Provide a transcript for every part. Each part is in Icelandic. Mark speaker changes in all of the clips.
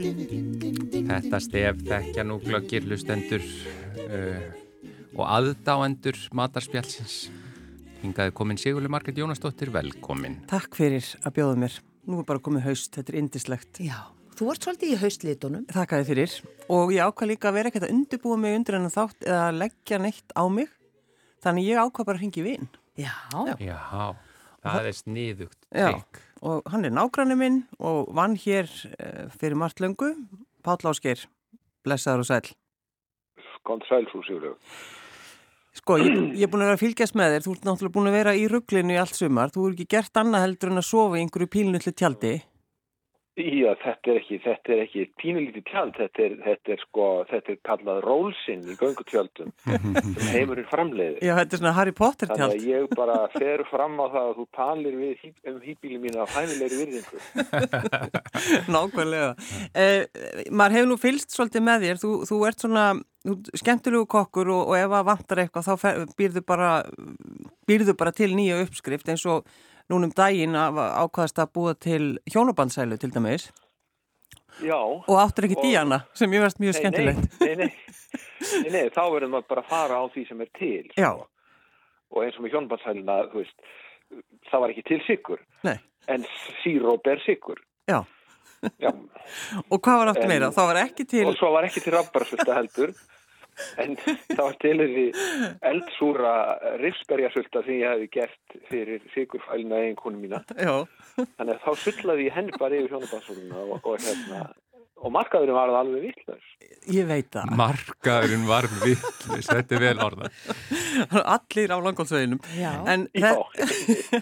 Speaker 1: Þetta stef þekkja nú glöggir hlustendur uh, og aðdáendur matarspjálsins. Hingaði komin Sigurli Margrét Jónasdóttir, velkomin.
Speaker 2: Takk fyrir að bjóða mér. Nú er bara komið haust, þetta er indislegt.
Speaker 3: Já, þú ert svolítið í haustlitunum.
Speaker 2: Þakkaði fyrir og ég ákvað líka að vera ekkert að undirbúa mig undir en þátt eða leggja neitt á mig. Þannig ég ákvað bara að ringi vinn
Speaker 3: Já,
Speaker 1: Já, það er sniðugt.
Speaker 2: Já.
Speaker 1: trikk.
Speaker 2: og hann er nágrannu minn og vann hér eh, fyrir margt löngu. Páll Ásker, blessaður og sæl.
Speaker 4: Góðan sæl, frú Sigurður.
Speaker 2: Sko, ég, ég er búin að vera að fylgjast með þér. Þú ert náttúrulega búin að vera í rugglinu í allt sumar. Þú er ekki gert annað heldur en að sofa í einhverju pílnullu tjaldi.
Speaker 4: Já, þetta er ekki, þetta er ekki pínulítið tjald, þetta er, þetta er sko, þetta er kallað rólsinn í göngutjöldum sem heimurinn framleiðir.
Speaker 2: Já, þetta er svona Harry Potter
Speaker 4: Þannig að
Speaker 2: tjald.
Speaker 4: ég bara fer fram á það að þú talir við hí- um hýbíli mín af hæmilegri virðingu.
Speaker 2: Nákvæmlega. Eh, maður hefur nú fylst svolítið með þér. Þú, þú ert svona þú, ert skemmtilegu kokkur og, og ef að vantar eitthvað þá fer- býrðu bara, býrðu bara til nýja uppskrift eins og núnum daginn af- ákvaðast að búa til hjónabandsælu til dæmis
Speaker 4: Já.
Speaker 2: og áttur ekki
Speaker 4: Og-
Speaker 2: díana sem ég veist mjög
Speaker 4: Nei,
Speaker 2: skemmtilegt.
Speaker 4: Nei, nei, nei, nei, þá verður maður bara að fara á því sem er til.
Speaker 2: Já,
Speaker 4: Og eins og með hjónbansælina, þú veist, það var ekki til sigur,
Speaker 2: nei,
Speaker 4: en síróp er sigur.
Speaker 2: já.
Speaker 4: Já,
Speaker 2: Og hvað var aftur
Speaker 4: En-
Speaker 2: meira? Það var ekki til...
Speaker 4: og svo var ekki til rabbarsvölda heldur en það var til þessi eldsúra rifsberjarsvölda sem ég hefði gert fyrir sigurfælina eiginkonu mína
Speaker 2: Já,
Speaker 4: þannig að þá sullaði ég henni bara yfir hjónabansvöluna og, og hérna og markaðurinn var alveg vittlaus
Speaker 2: ég veit það.
Speaker 1: Markaðurinn var vittlis, þetta er vel orðað.
Speaker 2: Allir á langólsveginum.
Speaker 3: Já.
Speaker 2: En,
Speaker 4: Já.
Speaker 2: þe-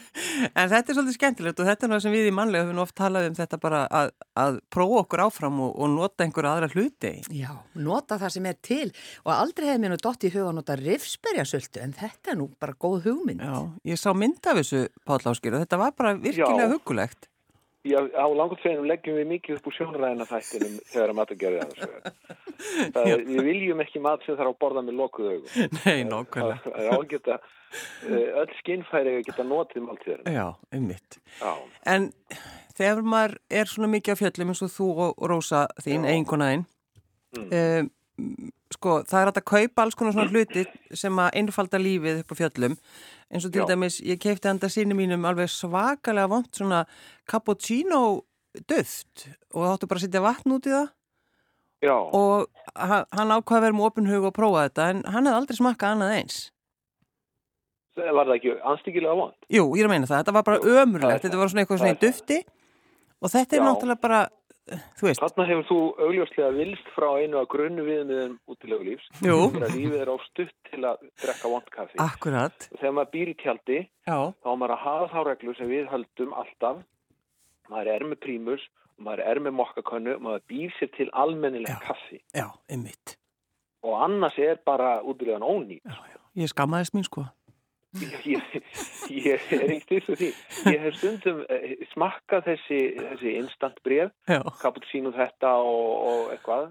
Speaker 2: en þetta er svolítið skemmtilegt og þetta er náttúrulega sem við í mannlega höfum oft talað um þetta bara að, að prófa okkur áfram og, og nota einhverja aðra hluti.
Speaker 3: já, nota það sem er til og aldrei hefði mér nú dott í huga að nota rifsberjasöldu en þetta er nú bara góð hugmynd.
Speaker 2: Já, ég sá mynd af þessu Páll Áskir og þetta var bara virkilega
Speaker 4: Já.
Speaker 2: hugulegt.
Speaker 4: Já, á langt sveginum leggjum við mikið upp úr sjónræðina þættinum þegar að matagerði aðeins það er, við viljum ekki mat sem þarf að borða með lokuð augum
Speaker 2: Nei, nákvæmlega.
Speaker 4: það er ágæta öll skinnfæri að geta notið máltíðarinn
Speaker 2: Já, ummitt.
Speaker 4: Já.
Speaker 2: En þegar maður er svona mikið á fjöllum eins og þú og Rósa þín, einhvernæðin, mm. sko, það er hægt að kaupa alls konar svona hluti sem að einfalda lífið upp á fjöllum. Eins og til
Speaker 4: Já.
Speaker 2: dæmis, ég keipti handa sinni mínum alveg svakalega vond svona cappuccino döft og það áttu bara að setja vatn út í það
Speaker 4: Já.
Speaker 2: og ha- hann ákvaði að vera með opin hug og prófa þetta en hann hefði aldrei smakkað annað eins.
Speaker 4: Það var það ekki anstíkilega vond?
Speaker 2: Jú, ég er að meina það, þetta var bara
Speaker 4: það er
Speaker 2: ömurlegt,
Speaker 4: það.
Speaker 2: þetta var svona eitthvað svona
Speaker 4: Það er
Speaker 2: í dufti og þetta er
Speaker 4: Já.
Speaker 2: náttúrulega bara, þú veist,
Speaker 4: Þarna hefur þú augljóslega vilst frá einu að grunnu viðmiðum útilegulífs.
Speaker 2: Jú. Ah.
Speaker 4: Þegar lífið er á stutt til að drekka vond kaffi.
Speaker 2: akkurat,
Speaker 4: Þegar maður býr í tjaldi,
Speaker 2: já,
Speaker 4: þá er maður að hafa þá reglu sem við höldum alltaf. Maður er með prímus, maður er með mokkakönnu, maður býr sér til almennileg
Speaker 2: Já.
Speaker 4: kaffi.
Speaker 2: já, einmitt,
Speaker 4: Og annars er bara útilegan ónýtt.
Speaker 2: já, já, ég skammaðist mín sko,
Speaker 4: Ég, ég, ég er ekkert þessu því. Ég hef stundum eh, smakkað þessi, þessi instant bref,
Speaker 2: já,
Speaker 4: cappuccino þetta og, og eitthvað.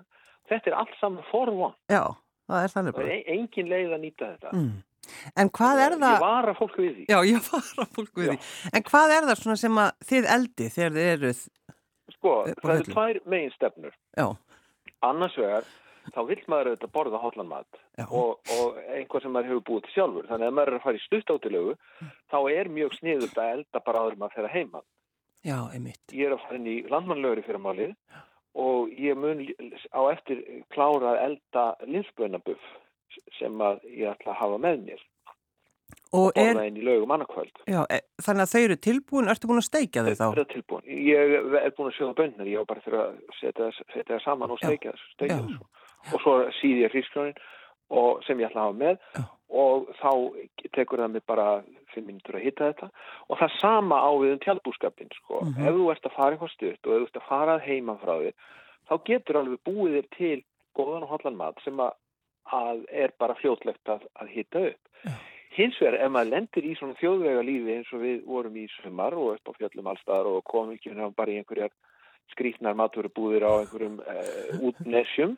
Speaker 4: Þetta er allt saman forvon.
Speaker 2: já, það er þannig
Speaker 4: Það er
Speaker 2: bara.
Speaker 4: e- engin leið að nýta þetta.
Speaker 2: Mm. En hvað er
Speaker 4: Ég
Speaker 2: það,
Speaker 4: var að fólk við því.
Speaker 2: já, ég fara fólk við
Speaker 4: Já.
Speaker 2: því, en hvað er það svona sem að þið eldið þegar þið eruð,
Speaker 4: Sko,
Speaker 2: Upp á
Speaker 4: það eru
Speaker 2: hillu.
Speaker 4: tvær megin stefnur.
Speaker 2: já,
Speaker 4: Annars vegar, þá vill maður auðvitað borða hóllan mat
Speaker 2: Já.
Speaker 4: og, og einhvað sem maður hefur búið til sjálfur. Þannig að ef maður er að fara í stuttátilegu, þá er mjög sniðult að elda bara áður en maður fer að heima.
Speaker 2: já, einmitt,
Speaker 4: Ég er að fara inn í landmannlögri fyrir málið og ég mun á eftir klára að elda linsbönabuff sem að ég ætla að hafa með mér.
Speaker 2: og er,
Speaker 4: Borða inn í lögum annarkvöld.
Speaker 2: já, e, þannig að þau eru tilbúin, ertu búin að steikja þau þá?
Speaker 4: Það er tilbúin. Ég er búin að sjóða bönnar, ég á bara þurfa að setja þess- setja það saman og
Speaker 2: Já.
Speaker 4: steikja þessu. steikja
Speaker 2: Já.
Speaker 4: þessu. Og svo síði ég frískjónin og sem ég ætla að hafa með
Speaker 2: Já.
Speaker 4: og þá tekur það mig bara fimm mínútur að hitta þetta og það sama á við um tjálbúskapin sko.
Speaker 2: Mhm.
Speaker 4: Ef þú ert að fara eitthvað stutt og ef þú ert að fara að heima frá þér þá getur alveg búið þér til góðan og hollan mat sem að, að er bara fljótlegt að, að hitta upp. Hins vegar, ef maður lendir í svona þjóðvega lífi eins og við vorum í sumar og upp á fjöllum allstaðar og komum ekki hérna bara í einhverjar skrýtnar maturubúðir á einhverjum uh, útnesjum,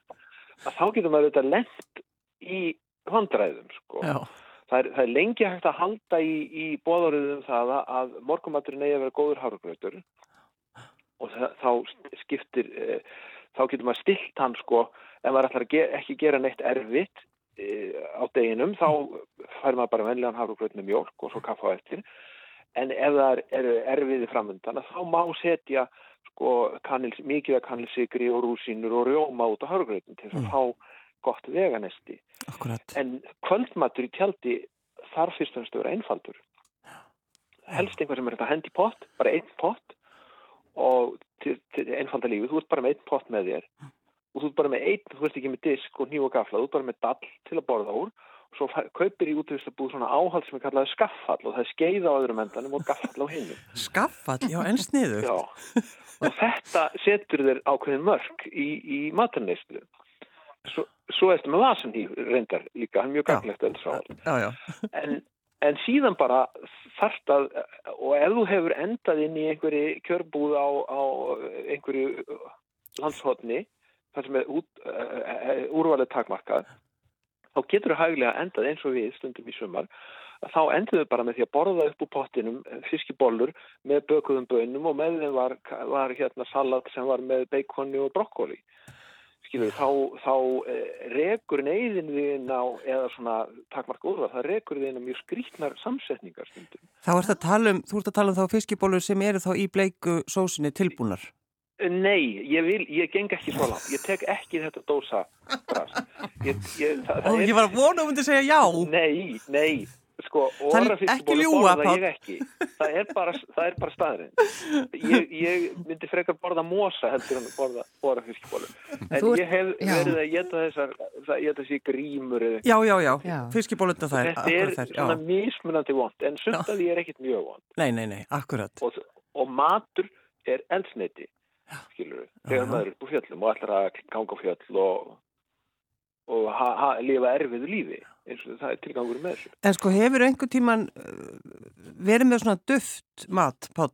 Speaker 4: að þá getur maður auðvitað lent í vandræðum, sko.
Speaker 2: Já,
Speaker 4: Það er, það er lengi hægt að halda í, í bóðaröðum það að- að morgumaturinn eigi að vera góður hárugröður og það, þá skiptir, eh, þá getur maður stilt hann sko, ef maður ætlar að ge ekki gera neitt erfitt eh, á deginum, þá fær maður bara venlegan hárugröð með mjölk og svo kaffa á eftir. En ef það eru erfiði framöndan, að þá má setja sko, kanil, mikið af kanilsigri og rúsínur og rjóma út á hárugröðum til þess að
Speaker 2: Mm.
Speaker 4: fá gott veganesti.
Speaker 2: akkurat.
Speaker 4: En kvöldmatur í tjaldi þarf fyrst og fremst að vera einfaldur. Helst einhver sem er hægt að hendi pott, bara einn pott og til, til einfalda lífið, þú ert bara með einn pott með þér og þú ert bara með einn, þú ert ekki með disk og nýj og gafla, þú ert bara með dall til að borða úr og svo fær- kaupir í útvistabúð svona áhald sem er kallaði skaffall og það er skeið á öðrum endanum og gaffall á hinu.
Speaker 2: Skaffall, já, en sniðu.
Speaker 4: Já, og þetta setur þér ákveðin mörk í, í maturneyslu. Svo, svo ertu með vasan í reyndar líka, hann er mjög
Speaker 2: Já.
Speaker 4: gagnlegt að sá.
Speaker 2: Já, já,
Speaker 4: En, en síðan bara þarft að, og ef þú hefur endað inn í einhverju kjörbúð á, á einhverju landshotni, þar sem er út, uh, úrvalið takmarkað, þá getur þú hæglega endað eins og við stundum í sumar, að þá endur þau bara með því að borða upp úr pottinum eh, fiskibólur með bökuðum bönum og með þeim var, var hérna salat sem var með beikonni og brokkoli skilur, þá, þá eh, rekur neyðin þín á, eða svona takmark úrvað, það rekur þín á mjög skrýtnar samsetningar stundum.
Speaker 2: þá ert að tala um, þú ert að tala um þá fiskibólur sem eru þá í bleiku sósinni tilbúnar.
Speaker 4: Eh, Nei, ég vil, ég geng ekki svo langt, ég tek ekki þetta dósa drast. Ég, ég, það,
Speaker 2: Ó,
Speaker 4: það
Speaker 2: ég var að vona um þetta að segja já.
Speaker 4: Nei, nei, sko,
Speaker 2: Það er
Speaker 4: orra
Speaker 2: ekki
Speaker 4: fiskibólu
Speaker 2: ljúga,
Speaker 4: borða ég ekki. Það er bara, það er bara staðurinn. Ég, ég myndi frekar borða mosa heldur en að borða orra fiskibólu. En
Speaker 3: Þú ert-
Speaker 4: ég hef
Speaker 3: já.
Speaker 4: verið að geta þessar, það geta þessi grímur eða
Speaker 2: Já, já, já, já.
Speaker 3: Já.
Speaker 2: fiskibólurna þær,
Speaker 4: Þetta er
Speaker 2: akkurat þær,
Speaker 4: svona
Speaker 2: já.
Speaker 4: mismunandi vond, en sumt að því er ekkit mjög vond.
Speaker 2: Nei, nei, nei, akkurat.
Speaker 4: Og, og matur er eldsneiti, skilur við,
Speaker 2: Já,
Speaker 4: þegar
Speaker 2: já.
Speaker 4: maður er upp á fjöllum og ætlar að ganga á fjöll og, og ha, ha, lifa erfiðu lífi, eins og það er tilgangur með þessu.
Speaker 2: En sko, hefur einhver tíman verið með svona duft mat, Páll?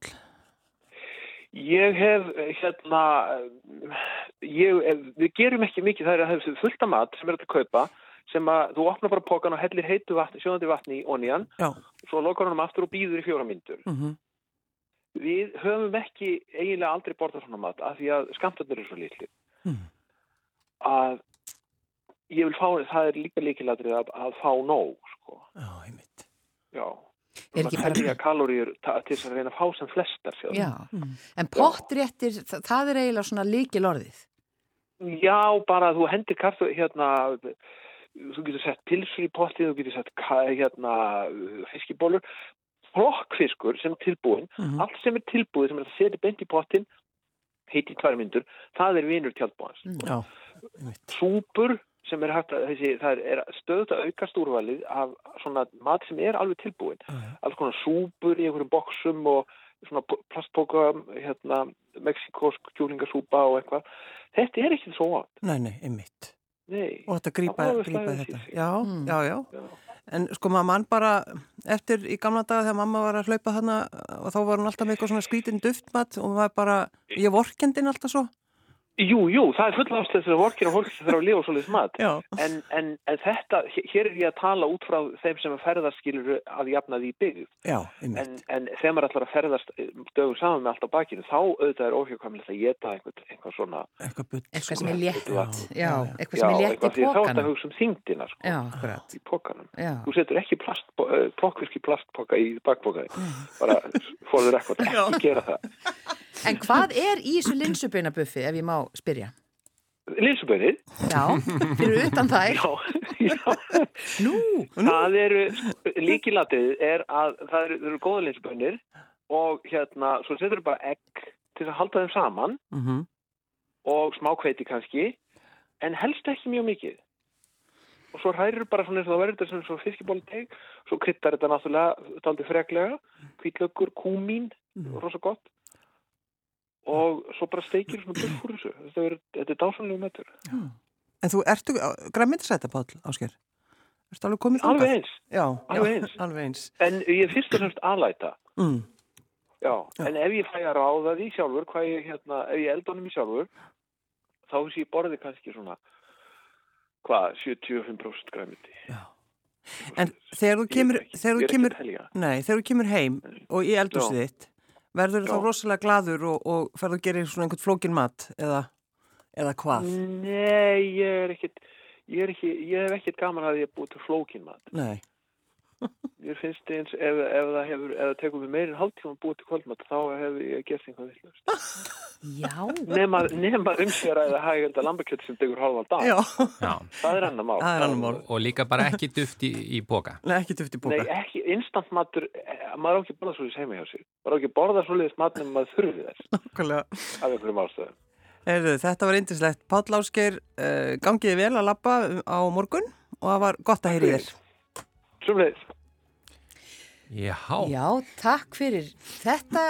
Speaker 4: Ég hef, eh, hérna, eh, ég, eh, við gerum ekki mikið, það er að það er fullt af mat sem er hægt að kaupa, sem að þú opnar bara pókan og hellir heitu vatni, sjóðandi vatni í onían,
Speaker 2: Já.
Speaker 4: svo lokar hann um aftur og býður í fjóra myndur.
Speaker 2: Mm
Speaker 4: Við höfum ekki eiginlega aldrei borðað svona mat af því að skamtarnir eru svo litli.
Speaker 3: Hmm.
Speaker 2: Mm.
Speaker 4: Að ég vil fá, það er líka líkilatrið að, að fá nóg, sko.
Speaker 2: Já, einmitt.
Speaker 4: Já.
Speaker 3: Er ekki bara-
Speaker 4: að telja kaloríur ta- til þess að reyna að fá sem flestar. sjá.
Speaker 3: Já, Mm. en pottréttir, þa- það er eiginlega svona líkil orðið.
Speaker 4: Já, bara þú hendir kaffi, hérna, þú getur sett pilsur í pottið, þú getur sett, ka- hérna, fiskibólur. Hrokkfiskur sem er tilbúin,
Speaker 2: Mhm.
Speaker 4: allt sem er tilbúið sem er að setja beint í pottin, heiti í tvær myndur, það er vinur tjaldbúans.
Speaker 2: Já, einmitt.
Speaker 4: súpur sem er hægt að, þessi, það er stöðut að auka stúrvalið af svona mat sem er alveg tilbúin.
Speaker 2: Já.
Speaker 4: Alls konar súpur í einhverjum boksum og svona p- plastpoka, hérna, mexikosk kjúlingasúpa og eitthvað. Þetta er ekki svo vant,
Speaker 2: Nei, nei, einmitt.
Speaker 4: nei.
Speaker 2: Og þetta grípa,
Speaker 4: Það var
Speaker 2: grípa
Speaker 4: slæðið
Speaker 2: þetta.
Speaker 4: síðan.
Speaker 2: Já,
Speaker 3: Mm.
Speaker 2: já, já.
Speaker 4: Já.
Speaker 2: En sko maður mann bara eftir í gamla daga þegar mamma var að hlaupa þarna og þá var hún alltaf með eitthvað svona skrítin duftmat og maður bara, ég vorkendin alltaf svo.
Speaker 4: Jú, jú, það er full ástæð þess að vorkir og fólk sem þarf að lifa svolítið mat.
Speaker 2: Já.
Speaker 4: En, en, en þetta, hér- hér er ég að tala út frá þeim sem að ferðarskilur að jafna því byggð.
Speaker 2: Já, einmitt.
Speaker 4: en, en þegar maður ætlar að ferðast eh, dögum saman með allt á bakinu, þá auðvitað er óhjökkamlega að geta einhvern, einhvern svona
Speaker 2: Eitthvað bull.
Speaker 3: Eitthvað
Speaker 2: sko.
Speaker 3: sem er létt,
Speaker 2: Já,
Speaker 3: já,
Speaker 2: já, já.
Speaker 3: eitthvað sem er létt í
Speaker 4: því þá er að
Speaker 3: pókanum.
Speaker 4: hugsa um þingdina sko,
Speaker 3: Já, akkurat,
Speaker 4: í pókanum.
Speaker 3: já.
Speaker 4: Þú setur ekki plast, plokkvirk í plastpoka í bakpoka, bara fórður ekkert, ekki gera það.
Speaker 3: En hvað er í þessu linsubeinabuffi, ef ég má spyrja?
Speaker 4: Linsubönir,
Speaker 3: Já, fyrir utan þær.
Speaker 4: já, já,
Speaker 3: Nú,
Speaker 4: það eru, líkilatið er að það eru, það eru góða linsubönir og hérna, svo setur þú bara egg til að halda þeim saman
Speaker 2: Mhm.
Speaker 4: og smá hveiti kannski, en helst ekki mjög mikið. Og svo hrærir bara svona eins og það verður þetta sem svo fiskibóldeg, svo kryttar þetta náttúrulega daldi freklega, kvítlökur, kúmín, rosa gott. Og svo bara steikir svona buff úr þessu. Þetta er, þetta er dásanlega metur.
Speaker 2: uh, En þú ertu græmyndisæta, Páll, Ásker? Ertu alveg komið
Speaker 4: Alveg
Speaker 2: þangað?
Speaker 4: eins,
Speaker 2: Já,
Speaker 4: alveg
Speaker 2: já,
Speaker 4: eins.
Speaker 2: alveg eins.
Speaker 4: en ég er fyrst og fremst alæta.
Speaker 2: Mm.
Speaker 4: Já, en ef ég fæ að ráða því sjálfur, hvað ég, hérna, ef ég elda honum í sjálfur, þá sé ég borðið kannski svona, hvað, 75% græmiti.
Speaker 2: En þegar þú kemur, þegar þú kemur,
Speaker 4: Ég er ekki að telja.
Speaker 2: nei, þegar þú kemur heim og í eldhúsið
Speaker 4: Já.
Speaker 2: þitt, verður þú
Speaker 4: Já.
Speaker 2: þá rosalega gladur og, og ferðu að gera svona einhvern flókin mat eða, eða hvað?
Speaker 4: Mm. Nei, ég er ekkit, ég er ekki, ég hef ekkit gaman að ég búið til flókin mat.
Speaker 2: Nei,
Speaker 4: Ég finnst eins, ef, ef það hefur, ef það tekur mig meirin hálftíma að búið til kvöldmat, þá hef ég gert einhvað villust.
Speaker 3: Já,
Speaker 4: Nema, nema um sér að það hægenda lambakjöld sem tekur halvan dag.
Speaker 2: já,
Speaker 1: Já.
Speaker 4: Það er annar mál.
Speaker 2: það er annar mál.
Speaker 1: Og líka bara ekki duft í, í boka.
Speaker 2: Nei, ekki duft í
Speaker 4: Nei,
Speaker 2: bóka.
Speaker 4: ekki instant matur, eh, maður á ekki að borða svolítið heima hjá sér. Maður á ekki að borða svolítið mat nema maður þurfi þess.
Speaker 2: Nákvæmlega.
Speaker 4: Af einhverjum ástöðum.
Speaker 2: Heyrðu, þetta var yndislegt. Páll Ásgeir, uh, gangiði vel að labba á morgun og það var gott að heyri þér.
Speaker 4: Sumleis.
Speaker 1: Já.
Speaker 3: já, takk fyrir þetta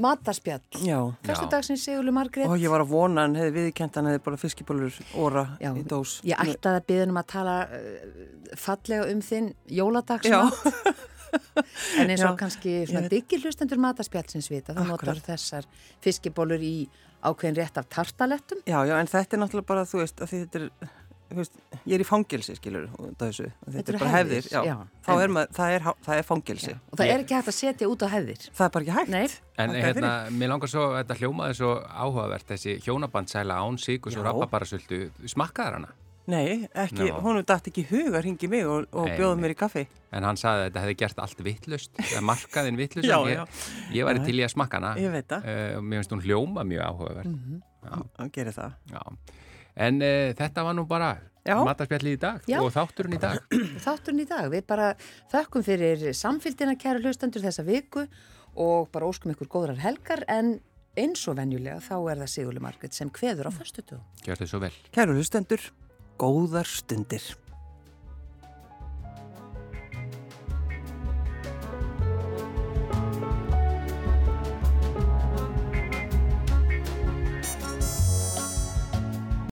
Speaker 3: matarspjall.
Speaker 2: Já.
Speaker 3: Fyrstu dagsins Sigurlu Margrét.
Speaker 2: Og ég var að vona hann hefði viðkent hann hefði bara fiskibólur óra
Speaker 3: Já,
Speaker 2: í dós.
Speaker 3: Ég ætlaði að byggja um að tala uh, fallega um þinn jóladagsmat, en eins og
Speaker 2: Já,
Speaker 3: kannski
Speaker 2: ég
Speaker 3: svona
Speaker 2: veit.
Speaker 3: diggi hlustendur matarspjallsins vita, þá
Speaker 2: Akkurat.
Speaker 3: notar þessar fiskibólur í ákveðin rétt af tartalettum.
Speaker 2: Já, já, en þetta er náttúrulega bara, þú veist, að því þetta er, þú veist, ég er í fangelsi, skilur, og þetta, þessu, þetta,
Speaker 3: Þetta
Speaker 2: er
Speaker 3: eru
Speaker 2: bara
Speaker 3: hefðir,
Speaker 2: hefðir, já,
Speaker 3: já,
Speaker 2: þá er
Speaker 3: einmitt.
Speaker 2: maður, það er, há- það er fangelsi,
Speaker 3: Og það er ekki hægt að setja út á hefðir.
Speaker 2: það er bara ekki hægt.
Speaker 3: Nei.
Speaker 1: En
Speaker 2: Þakka
Speaker 1: hérna, mér langar svo, þetta hljómaði svo áhugavert, þessi hjónabandsæla án síkus og
Speaker 2: Já.
Speaker 1: rababarasöldu, smakkaðar hana?
Speaker 2: Nei, ekki,
Speaker 1: Nó.
Speaker 2: honum dætt ekki í hug að ringi mig og, og
Speaker 1: Nei,
Speaker 2: bjóða
Speaker 1: nei.
Speaker 2: mér í kaffi.
Speaker 1: En hann sagði að þetta hefði gert allt vittlust, markaðin vittlust,
Speaker 2: Já,
Speaker 1: en
Speaker 2: já.
Speaker 1: ég, ég var til í að smakka hana.
Speaker 2: Ég veit það. Mhm.
Speaker 1: Eh, og mér finnst hún hljóma mjög áhugaverð.
Speaker 2: Hann gerir það.
Speaker 1: Já. En uh, þetta var nú bara
Speaker 2: Já.
Speaker 1: matarspjallið í dag
Speaker 3: Já.
Speaker 1: og þátturinn í dag.
Speaker 3: Þátturinn í dag, við bara þökkum fyrir samfylgdina kæru hlustendur þessa viku og bara óskum ykkur góðrar helgar en eins og venjulega þá er það Sigurlu Margrét sem kveður á föstutugum.
Speaker 1: Gjörðu svo vel.
Speaker 2: Kæru hlustendur, góðar stundir.